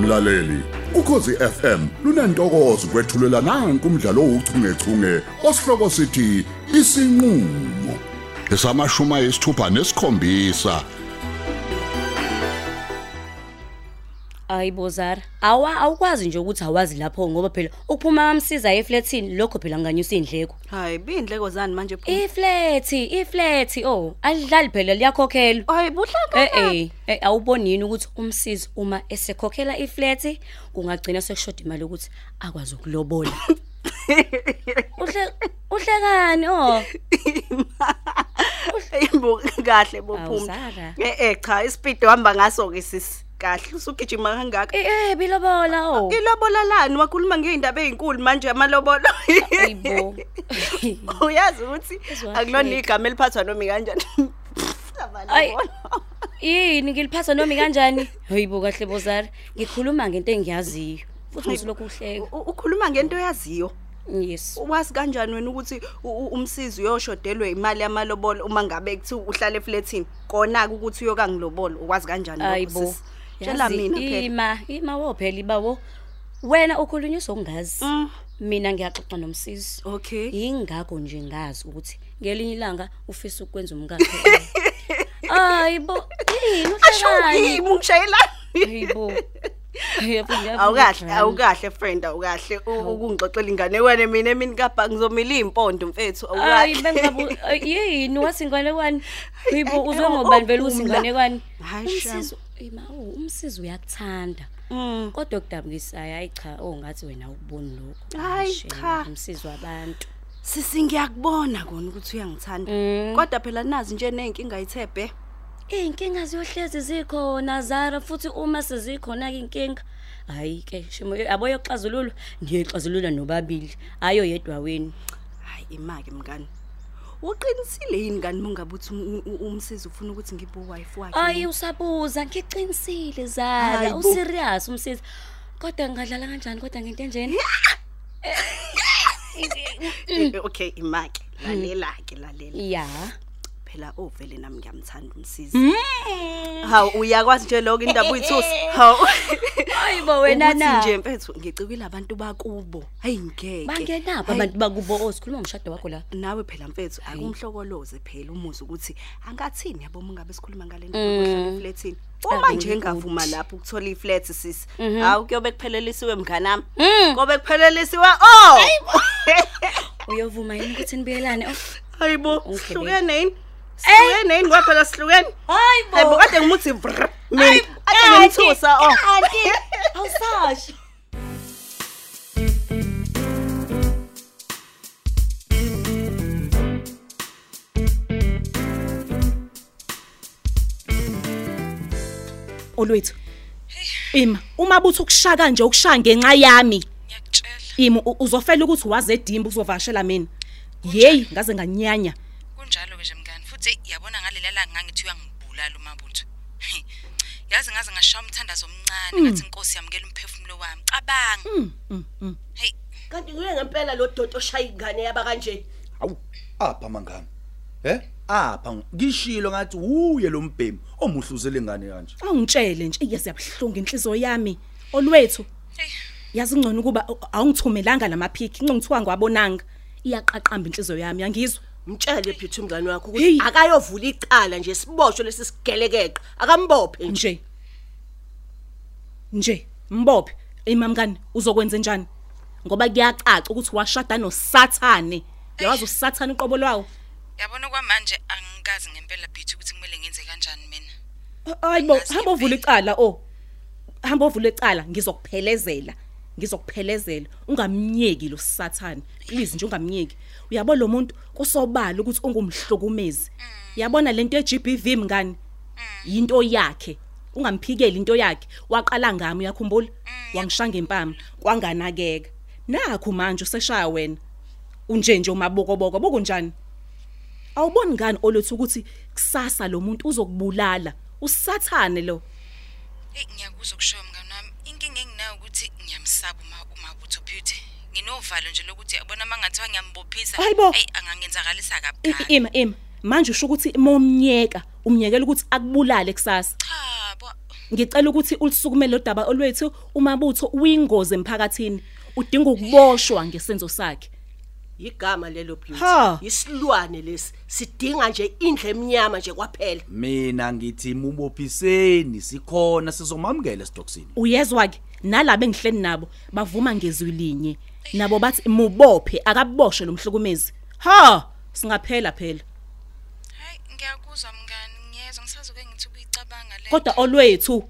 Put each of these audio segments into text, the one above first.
mlaleli ukhosi FM lunantokozo kwethulela nange umdlalo ouchungechunge osihloko sithi isinqulo esamashuma esithupha nesikhombisa Ayibo Zara, awa awukwazi nje ukuthi awazi lapho ngoba phela ukuphuma amsiza eflatini lokho phela nganyusa indleko. Hayi, bindleko zani manje phela? Iflat, iflat oh, alidlali phela liyakhokhelwa. Hayi, buhlaka. Eh eh, eh awubonini ukuthi umsizi uma esekhokhela iflat kungagcina sekushoda imali ukuthi akwazi ukulobola. Uhle uhlekani oh? Imbo kahle Awu, bophuma. Zara. Eh eh cha, ispeed uhamba ngaso ke sisi. Kahle usugijima kangaka. Eh eh bilobola oh. Ilobolalani wakhuluma ngeindaba ezinkulu manje amalobolo. Ayibo. Uyazi ukuthi Uzwahleka. akulona igama eliphathwa noma kanjani. Abantu Ayi. bona. Yini ngiliphatha nomi kanjani? Hayibo kahle bozara, ngikhuluma ngento engiyaziyo. Futhi ngisoloko uhleka. U- Ukhuluma ngento oyaziyo. Yes. Wazi kanjani wena ukuthi u- u- umsizi uyoshodelwe imali yamalobolo uma ngabe kuthi uhlale eflatini? Kona ukuthi uyokangilobolo, ukwazi kanjani lokho Ayibo. sisi? Tshela Yazi, mina phela. Ima, ima wophela ibawo. Wena ukhulunywa usungazi. Mm, Mina ngiyaxoxa nomsisi. Okay. Yingakho nje ngazi ukuthi ngelinye ilanga ufisa ukwenza umkakhe. Ayibo, yini uhlekani? Ashukimi ngishayelani. Ayibo. Yebo, Awukahle, awukahle friend, awukahle. Ukungixoxela ingane kwene mina emini kapha ngizomila impondo mfethu, Ayi awukahle. bengabu yini wasinganekwane? Uyibo Ayi, uzongobani vele ophumla. usinganekwane? Hayi, Umsizo, ima, oh, umsizo uyakuthanda. Mm. Kodwa ukudabukisa hayi cha, oh ngathi wena uboni lokho. Hayi, Shame, cha. Umsizo wabantu. Sisi ngiyakubona kona ukuthi uyangithanda. Mm. Kodwa phela nazi nje nenkinga ithebe. Inkinga ziyohlezi zikhona Zara futhi uma sezikhona ke inkinga. Hayi ke shimo aboyo xazululwa ngiyaxazulula nobabili ayo yedwa wenu. hayi imake mngani uqinisile yini kani mongabuthi umsizi ufuna ukuthi ngibe uwife wakhe Ayi usabuza ngiqinisile Zara Hayi bo. u serious umsizi. Kodwa ngadlala kanjani kodwa ngento enjeni? Eh, okay imake lalela ke lalela mm. Ya. phela ovele nami ngiyamthanda umsizi Mm. hawu uyakwazi nje lokho indaba uyithusi hawu Ayibo wena Ukuthi na. nje mfethu ngicikile abantu bakubo hayi ngeke Bangenapha Hayi, abantu bakubo osikhuluma ngomshado wakho la. nawe phela mfethu akumhlokoloze phela umuzi ukuthi angathini yabo mungabe sikhuluma ngale Mm. nto yokuhlala eflatini uma nje Ave Mm. ngikuthi. Mhm. ngavuma lapho ukuthola iflat sisi hawu kuyobe kuphelelisiwe mnganami Mm. kobe kuphelelisiwe oh Uyovuma yini ukuthi nibiyelane? Oh. hayibo Ungigibele. sihlukene yini sihlukene yini ngoba phela sihlukene Hayibo. hayibo kade ngimuthi vrr, mina ade ngimthusa oh Awusashi. olwethu ima uma buthi ukushaka nje ukushaya ngenxa yami Ngiyakutshela ima u- uzofela ukuthi waze edimba uzovashela mina yeyi ngaze nganyanya kunjalo ke nje mngani futhi eyi, yabona ngalela la ngangithi uyangibulala umabutho. Yazi ngaze ngashaya umthandazo omncane ngathi inkosi yamkela umphefumulo wami. Cabanga. Mm, Hey, kanti nguye ngempela lo dodo oshaya ingane yaba kanje Awu, apha mangani? He? Apha ngishilo ngathi uye lo mbhemu omuhluzele ngane kanje. awungitshele nje iyazi yabhlunga inhliziyo yami olwethu hey, yazi ngcono ukuba u- awungithumelanga lamaphiki ngingithiwa ngwabonanga iyaqaqamba inhliziyo yami yangizwa mtshele phithu umngane wakho Hey. ukuthi akayovula icala nje siboshwe lesi sigelekeqa akambophe nje nje nje mbophe imamkani uzokwenza njani ngoba kuyacaca ukuthi washada nosathane yawazi usathane uqobo lwawo yabona kwamanje angikazi ngempela bithi ukuthi kumele ngenze kanjani mina. Hayibo, Angazi hamba uvule icala oh. Hamba uvule icala ngizokuphelezela. Ngizokuphelezela. Ungamnyeki lo Satan. Please nje ungamnyeki. Uyabona lo muntu kusobala ukuthi ungumhlokumezi. Yabona lento eGBV mngani. Into yakhe. Ungamphikeli into yakhe. Waqala ngami uyakhumbula? Wangishanga impama, kwanganakeka. Nakho manje useshaya wena. Unje nje umabokoboko, bokunjani? Awuboni ngani olothu ukuthi kusasa lo muntu uzokubulala. Usathane lo. Hey, ngiyakuzwa kushoyo mngani wami. Inkinga enginayo ukuthi ngiyamsaba uma umabutho beauty. Nginovalo nje lokuthi yabona mangathiwa ngiyambophisa. Hayibo. Hey, angangenzakalisa I- kabi. i- Ima ima. Manje usho ukuthi momnyeka, umnyekela ukuthi akubulale kusasa. Cha, bo. ngicela ukuthi ulisukumele lodaba olwethu umabutho uyingozi emphakathini udinga ukuboshwa ngesenzo sakhe Igama lelo Ha. beauty. Isilwane lesi sidinga nje indle eminyama nje kwaphela. mina ngithi mubophiseni sikhona sizomamukela estoksini uyezwa ke nalabo engihleni nabo bavuma ngezwi linye nabo bathi mubophe akaboshwe lomhlukumezi ha singaphela phela Hayi ngiyakuzwa mngani ngiyezwa ngisazoke ngithi ukuyicabanga le. kodwa olwethu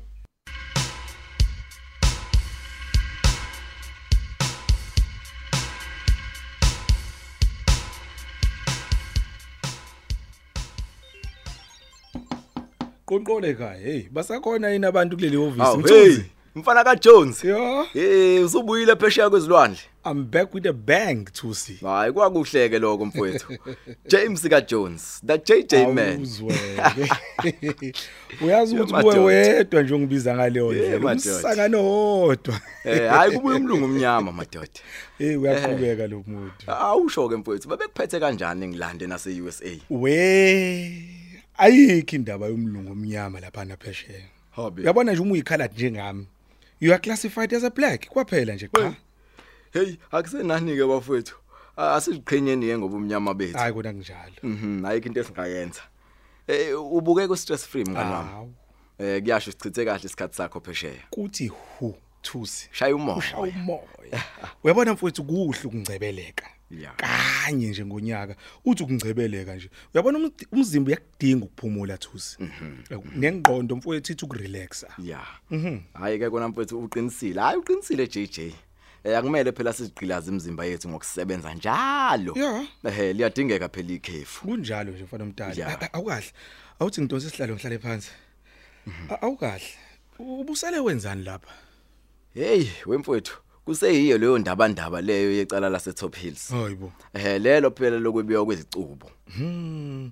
Qonqole ka hey basakhona yini abantu kuleli Aw, office hey, mfana ka Jones. Yeah Hey, usubuyile phesheya kwezilwandle. I'm back with a bang Thusi. Hayi kwakuhleke lokho mfowethu. James ka Jones, the JJ man. Awuzweke. Uyazi ukuthi kuwe madoda. wedwa nje ungibiza ngaleyo Yeah, ndlela. madoda. Umsangano wodwa. Eh, hayi kubuye umlungu omnyama madoda. Hey uyaqhubeka lo muntu. Awusho ke mfowethu, babekuphethe kanjani ngilande nase USA? We ayikho indaba yomlungu omnyama lapha naphesheya. Hobe. Uyabona nje uma uyikhala njengami. You are classified as a black kwaphela nje Hey. qha. Hey, akusenani ke bafowethu. Ah, Asiziqhenyeni ke ngoba umnyama bethu. Hayi kona kunjalo. Mhm, hayi into esingayenza. Eh, ubuke ku stress free mngani wami. Hawu Eh, kuyasho sichithe kahle isikhathi sakho phesheya. kuthi hu Thusi. Shaya usha umoya. umoya uyabona mfowethu kuhle ukungcebeleka Yeah. kanye nje ngonyaka uthi ukungcebeleka nje uyabona umd- umzimba uyakudinga ukuphumula thusi nengqondo mfowethu ithi ukurelaxa Yeah. Mhm. Hayi ke kona mfethu uqinisile. Hayi uqinisile JJ. Eh akumele phela sizigqilaze imizimba yethu ngokusebenza njalo. Yeah. Ehhe liyadingeka phela ikhefu. kunjalo nje mfana omntana Yeah. A- a- awukahle awuthi ngidonse isihlalo ngihlale phansi A- awukahle ubusele wenzani lapha Hey, wemfethu, kuseyiyo leyo ndaba ndaba leyo yecala lase Top Hills. hayibo Ehhe lelo phela lokwebiwa kwezicubo. Hmm.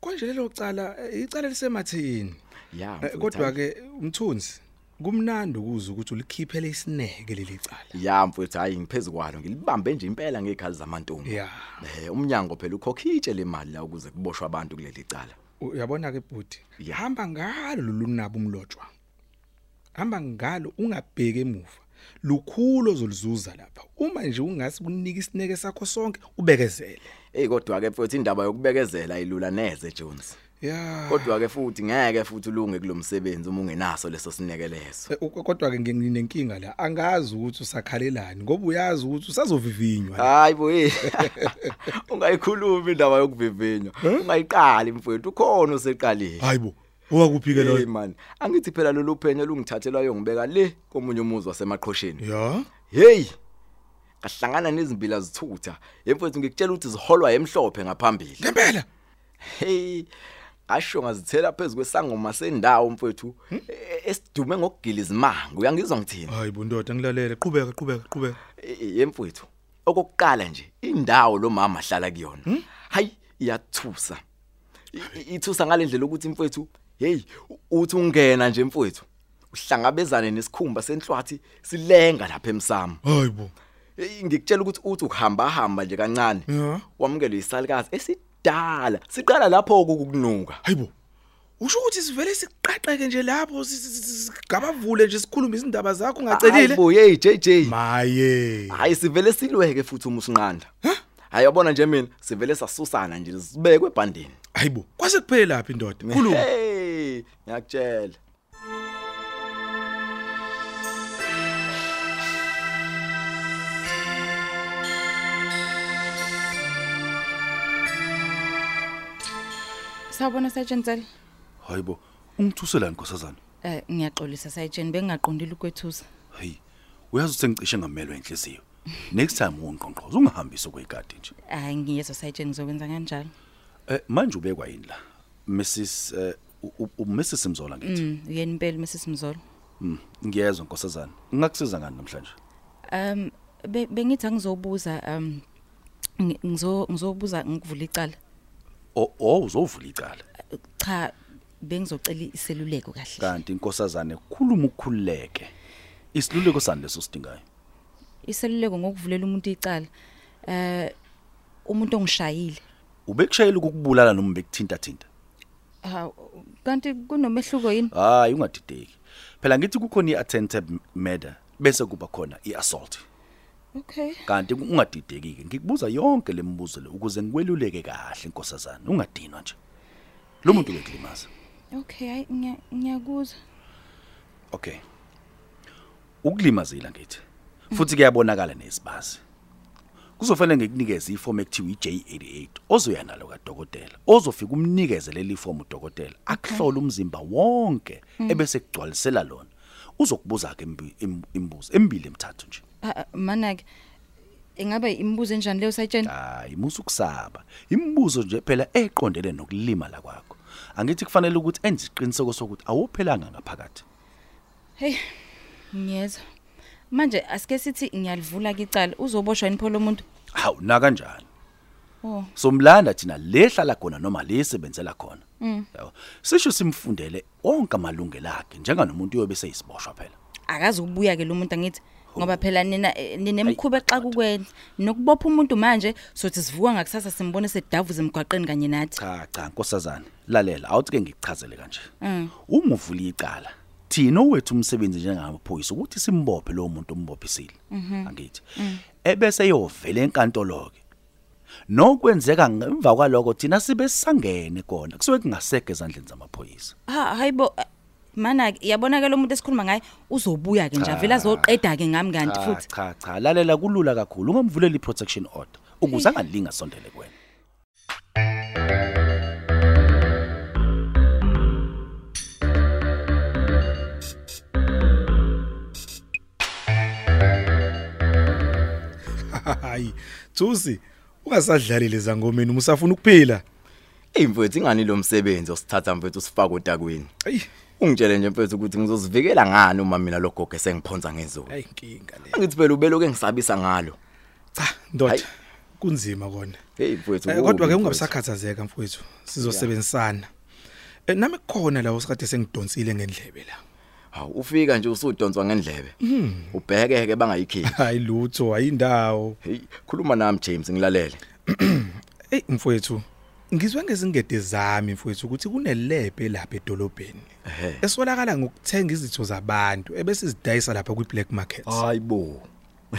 konje lelo cala eh, icala lisemathini Yeah. Eh, kodwa ke umthunzi kumnandi ukuza ukuthi ulikhiphele isineke leli cala Ya mfethu hayi ngiphezukwalo ngilibambe nje impela ngekhali zamantombi. yeah Eh umnyango phela ukhokhitshe le mali la ukuze kuboshwe abantu kuleli cala. uyabona ke bhuti Ya. hamba ngalo lolunabo umlotshwa hamba ngalo ungabheke emuva lukhulu ozolizuza lapha uma nje ungasi kunika isineke sakho sonke ubekezele Ey kodwa ke mfethu indaba yokubekezela ayilula neze Jones. ya kodwa ke futhi ngeke futhi ulunge kulomsebenzi uma ungenaso leso sinekelezo Eh, u- kodwa ke nginenkinga la angazi ukuthi usakhalelani ngoba uyazi ukuthi usazovivinywa hayi boye ungayikhulumi indaba yokuvivinywa ungayiqali mfowethu ukhona useqalile hayibo owakuphi-ke hey lo man angithi phela lolu phenyo lungithathelwayo ngibeka le komunye umuzi wasemaqhosheni ya hey kahlangana nezimbila zithutha emfowethu ngikutshela ukuthi ziholwa emhlophe ngaphambili ngempela hey asho ngazithela phezulu kwesangoma sendawo mfowethu Hmm? e- esidume ngokugila izimanga uyangizwa ngithini hayibo ndoda ngilalele qhubeka qhubeka qhubeka yemfowethu okokuqala nje indawo lo mama ahlala kuyona Hmm? hayi iyathusa I- i- ithusa ngalendlela ukuthi mfowethu hey u- uthi ungena nje mfowethu uhlangabezane nesikhumba senhlwathi silenga lapha emsamo hayibo Eh, ngikutshela ukuthi uthi ukuhamba hamba nje kancane Ya. wamukelwe isalukazi esidala siqala lapho ukukunuka hayibo usho ukuthi sivele siqaqeke nje lapho si- si- si- sigabavule nje sikhulume izindaba zakho ungacelile buye JJ maye hayi sivele silweke futhi uma usinqanda hayi yabona nje mina sivele sasusana nje sibekwe ebhandeni hayibo kwase kuphele laphi indoda khuluma Eh. Hey, ngiyakutshela. Sawubona Sergeant Zali. hayibo ungithuselani nkosazana Eh ngiyaxolisa Sergeant bengingaqondile ukwethusa. hey uyazi ukuthi ngicishe ngamelwe inhliziyo next time ungiqonqoza ungahambisa kwegadi nje Hayi ngiyezwa Sergeant ngizokwenza kanjalo. eh manje ubekwa yini la mrs eh u- u- mrs Mzola ngithi Mm yini impela Mrs Mzolo. Mm, ngiyezwa nkosazana ngingakusiza ngani namhlanje Um be- bengithi angizobuza um ngi- ngizo ngizobuza ngikuvula icala. o o, uzovula icala Cha bengizocela iseluleko kahle. kanti inkosazana khuluma ukukhululeke isiluleko sani leso sidingayo Iseluleko ngokuvulela umuntu icala. Eh umuntu ongishayile. ubekushayela ukukubulala noma bekuthinta thinta Ha kanti kunomehluko yini? hayi ungadideki phela ngithi kukhona i-attempted murder bese kuba khona i-assault Okay. kanti ungadidekike ngikubuza yonke lemibuzo le ukuze ngikweluleke kahle inkosazana ungadinwa nje lo muntu uyaklimaza Okay, hayi ngiya- ngiyakuzwa. okay ukulimazila ngithi futhi kuyabonakala nesibazi kuzofanele ngikunikeze ifomu ekuthiwa i-J88 ozoya nalo kadokotela ozofika umnikeze leli fomu udokotela akuhlole umzimba wonke Mm. ebese kugcwalisela lona uzokubuza ke imbi- im- imibuzo emibili emithathu nje Ah, ah, Mana ke ingabe imibuzo enjani leyo sayitshena? hayi musu kusaba imibuzo nje phela eqondene nokulima la kwakho angithi kufanele ukuthi enze isiqiniseko sokuthi awuphelanga ngaphakathi Hey. Ngiyezwa. Manje asike sithi ngiyalivula ke icala uzoboshwa inipho lomuntu. hawu na kanjani Oh. somlanda thina lehlala khona noma lesebenzela khona Mm. yabo sisho simfundele onke amalungelo akhe njenganomuntu uyobe seyisiboshwa phela Akazi ukubuya ke lo muntu angithi ngoba phela nina eh, ninemkhuba exa kukwenza. Nokubopha umuntu manje sothi sivuka ngakusasa simbone sedavuza emgwaqeni kanye nathi. cha cha nkosazana lalela awuthi ke ngikuchazele kanje Mm. uma uvula icala thina owethu umsebenzi njengamaphoyisa ukuthi simbophe lowo muntu ombophisile Mhm. angithi ebese eyovela enkantolo ke nokwenzeka ngemva kwaloko thina sibe sangene kona kusuke kungaseke ezandleni zamaphoyisa Ha hayibo mana ke yabona ke lo muntu esikhuluma ngaye uzobuya ke nje Cha. avela azoqeda ke ngami kanti Cha, futhi. cha cha lalela kulula kakhulu ungamvulela i-protection order ukuze Eish. angalinga sondele kuwena hayi thusi ungasadlalile zangomeni uma usafuna ukuphila Ey mfethu ingani lo msebenzi osithatha mfethu usifaka otakwini. Ey ungitshele nje mfethu ukuthi ngizozivikela ngani uma mina lo gogo sengiphonza ngezulu. Hayi inkinga le. Angithi phela ubelo ke ngisabisa ngalo. ndoda kunzima kona Hey mfethu. Eh, kodwa ke kubi, ungabusakhathazeka mfowethu sizosebenzisana Eh, nami kukhona la osikade sengidonsile ngendlebe la mfethu. Hawu ufika nje usudonswa ngendlebe. Hmm. Ubheke ke bangayikhiphi. hayi lutho ayindawo hey khuluma nami James ngilalele Ey mfowethu, ngizwe ngezingede zami mfowethu ukuthi kunelebe lapha edolobheni. Ehhe. Eswalakala ngokuthenga izitho zabantu ebese sidayisa lapha kwi black market. Hayibo.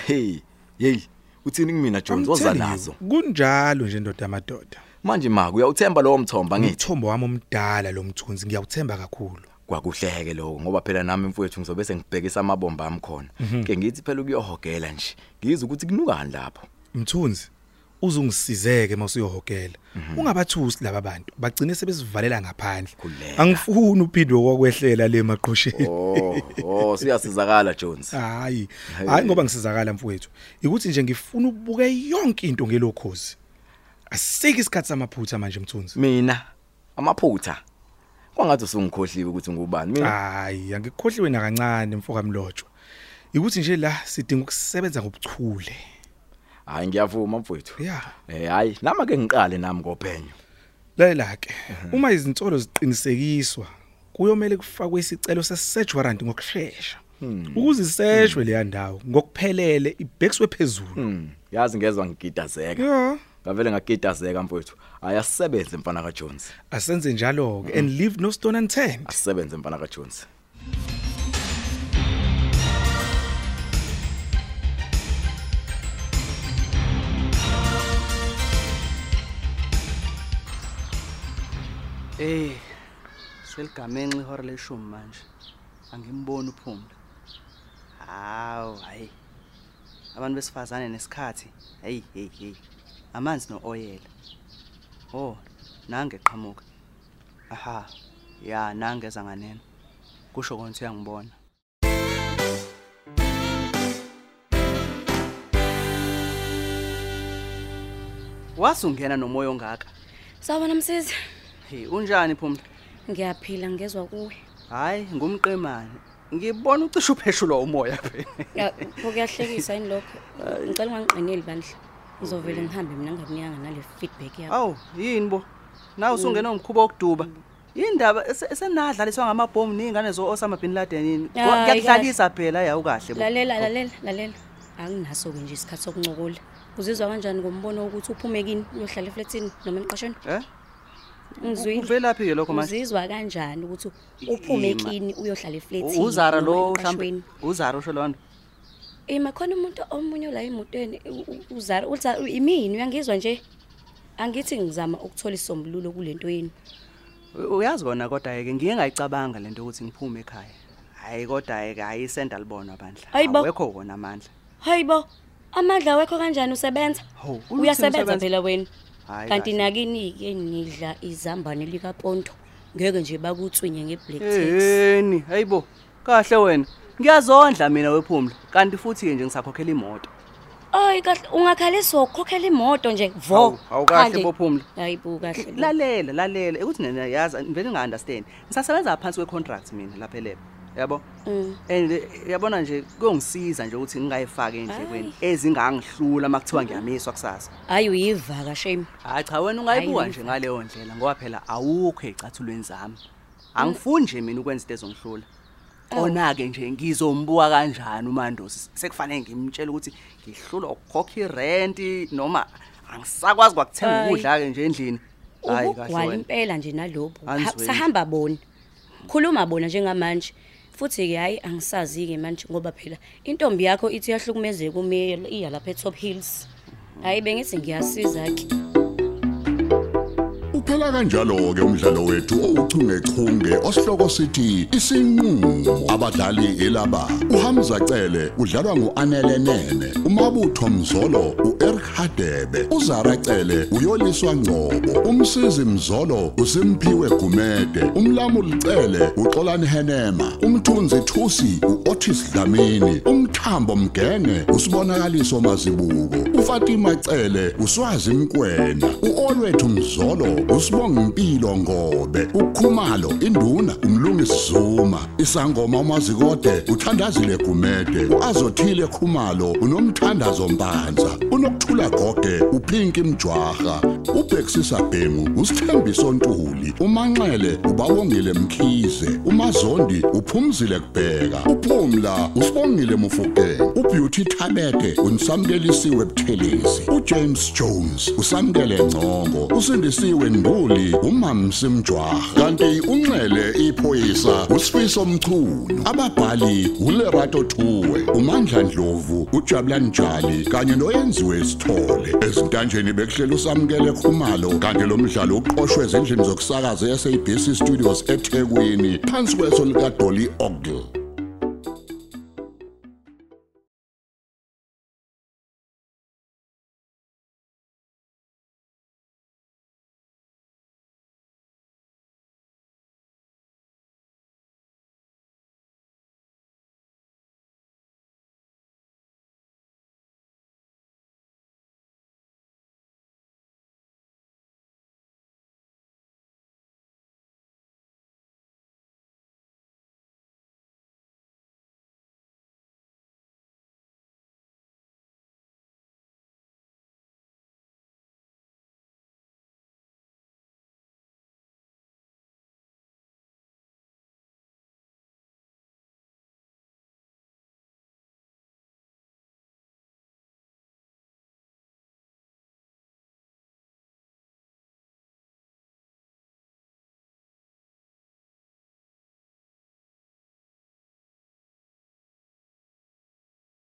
Hey, hey, uthini kumina Jones oza nazo? Kunjalo nje ndoda madoda. Manje maku uyawuthemba lowo mthomba ngithi Umthombo wami omdala lo mthunzi ngiyawuthemba kakhulu. kwakuhleke lokho ngoba phela nami mfowethu ngizobe sengibhekisa amabomba ami khona. Mhm. Ke ngithi phela ukuyohogela nje. Ngizwe ukuthi kunukani lapho. Mthunzi uzungisizeke mawusiyohogela. Ungabathusi laba bantu bagcine sebesivalela ngaphandle. Angifuni uphindwe kokwehlela le maqhosheni. Oh, oh, siyasizakala Jones. Hayi, hayi ngoba ngisizakala mfowethu. Ikuthi nje ngifuna ubuke yonke into ngelokhozi. Asike isikhatsi samaphutha manje mthunzi. Mina amaphutha. Kwangathi usungikhohliwe ukuthi ngubani mina. Hayi, angikhohliwe na kancane mfoka mlotshwa. Ikuthi nje la sidinga ukusebenza ngobuchule. Hayi ngiyavuma mfowethu. Yeah. Eh hayi, nama ke ngiqale nami ngophenyo. Lalela ke, uma izinsolo ziqinisekiswa, kuyomele kufakwe isicelo sesearch warrant ngokusheshsha. Ukuze iseshwe leya ndawo ngokuphelele ibhekiswe phezulu. Hmm, Yazi ngezwe ngigidazeka. Yeah. Ngavele ngagidazeka mfowethu. Hayi asisebenze mfana ka Jones. Asenze njalo ke and leave no stone unturned. Asisebenze mfana ka Jones. Eh, seligamenxe ihora leshumi manje. Angimboni uphumla. Hawu, hayi. Abantu besifazane nesikhathi. Hey, hey, hey. Amanzi nooyela. Oh, nange qhamuka. Aha. Ya, nange ezanganena. Kusho konke uyangibona. Wasungena nomoya ongaka. Sawubona msisi. Hey, unjani Phumla? Ngiyaphila ngezwe kuwe. Hayi, ngumqemane. Ngibona ucishe upheshulwa umoya phela. Ya, pho kuyahlekisa yini lokho? Ngicela ungangiqineli bandla. Ngizovele ngihambe mina ngakunikanga nale feedback yakho. Awu, yini bo? Nawe Mm. usungena umkhuba wokuduba. Yindaba ese- esenadlaliswa ngamabhomu ningane zo Osama bin Laden yini? Ko- Hayi, Kuyakudlalisa phela yawu kahle bo. Lalela lalela lalela. Anginaso ke nje isikhathi sokuncokola. Uzizwa kanjani ngombono ukuthi uphume kini uyohlala eflatini noma emqashweni? Eh? Ngizwile. Kuvelaphi ke lokho manje? Uzizwa kanjani ukuthi uphume Ima. kini uyohlala eflat? U- uzara lo mhlawumbe uzara usho lona Eh, Ima khona umuntu omunye la emotweni u- u- uzara uthi imini uyangizwa nje. Angithi ngizama ukuthola isombululo kulento yini. U- uyazi kona kodwa ke ngiye ngayicabanga lento ukuthi ngiphume ekhaya hayi kodwa ke ayisenda libona bandla Hayibo. awekho wona amandla Hayibo. Amandla awekho kanjani usebenza? Ho, uluthini Uyasebenza usebenza? phela wena. Hhayi, Kanti kahle. nakini ke nidla izambane likaPonto. Ngeke nje bakutswinye ngeblack Eh, tax. yeni hayibo kahle wena ngiyazondla mina wephumla kanti futhi ke nje ngisakhokhela imoto Ayi kahle ungakhaliswa ukukhokhela imoto nje vo. Hawu, hawu kahle Qale. bophumla Hayibo kahle. bo. lalela lalela ukuthi nena yazi ngivele nga-understand ngisasebenza ngaphansi kwe-contract mina lapha elebo yabo Mm. and eh, yabona nje kuyongisiza nje ukuthi ngingayifaki ey'ndlekweni ezingangihlula uma kuthiwa ngiyamiswa kusasa Hayi uyivaka shame. hayi cha wena Hhayi, ungayibuka uyiva. nje ngaleyo ndlela ngoba phela awukho ey'cathulweni zami angifuni nje mina ukwenza into ezongihlula Oh. kona-ke nje ngizombuka kanjani umandosi sekufanele ngimtshele ukuthi ngihlulwa ukukhokha irenti noma angisakwazi kwakuthenga Hhayi. ukudla-ke nje endlini Hhayi, kahle Ubugwala wena. impela nje nalobo. Anizweli. Sahamba bona. Khuluma bona njengamanje. Futhi ke hayi angisazi ke manje ngoba phela intombi yakho ithi yahlukumezeka kumele iya lapha eTop Hills. Hayi bengithi ngiyasiza ke. Uphela kanjalo ke umdlalo wethu ouchungechunge osihloko sithi isinqulo abadlali elaba uHamza Cele udlalwa nguAnele Nene uMabutho Mzolo uEric Hadebe uZara Cele uyoliswa Ngcobo umsizi Mzolo uSimphiwe Gumede umlamuli Cele uXolani Henema umthunzi Thusi uOtis Dlamini umthambo Mgene usibonakaliso mazibuko uFatima Cele uswazi Mkwena uOlwethu Mzolo usibonga impilo ngobe ukhumalo induna umlungisi Zuma isangoma umazikode uthandazile Gumede uazothile khumalo unomthandazo Mpanza unokuthula gogwe uphinki Mjwaha ubhexisa Bhengu usithembiso Ntuli umanxele ubabongile Mkhize umazondi uphumzile kubheka uphumla usibongile Mufukeng ubeauty Thabete unsamkelisiwe Buthelezi uJames Jones usamkele Ngcongo usindisiwe Nduli umamsi Mjwaha kanti unxele iphoyisa usifiso Mchunu ababhali uLerato Thuwe uMandla Ndlovu uJabulani Njali kanye noyenziwe Sithole ezintanjeni bekuhlela usamkele khumalo kanti lo mdlalo uqoqwwe ezindlini zokusakaza yaseBC Studios eThekwini phansi kweso lika Dolly Ogle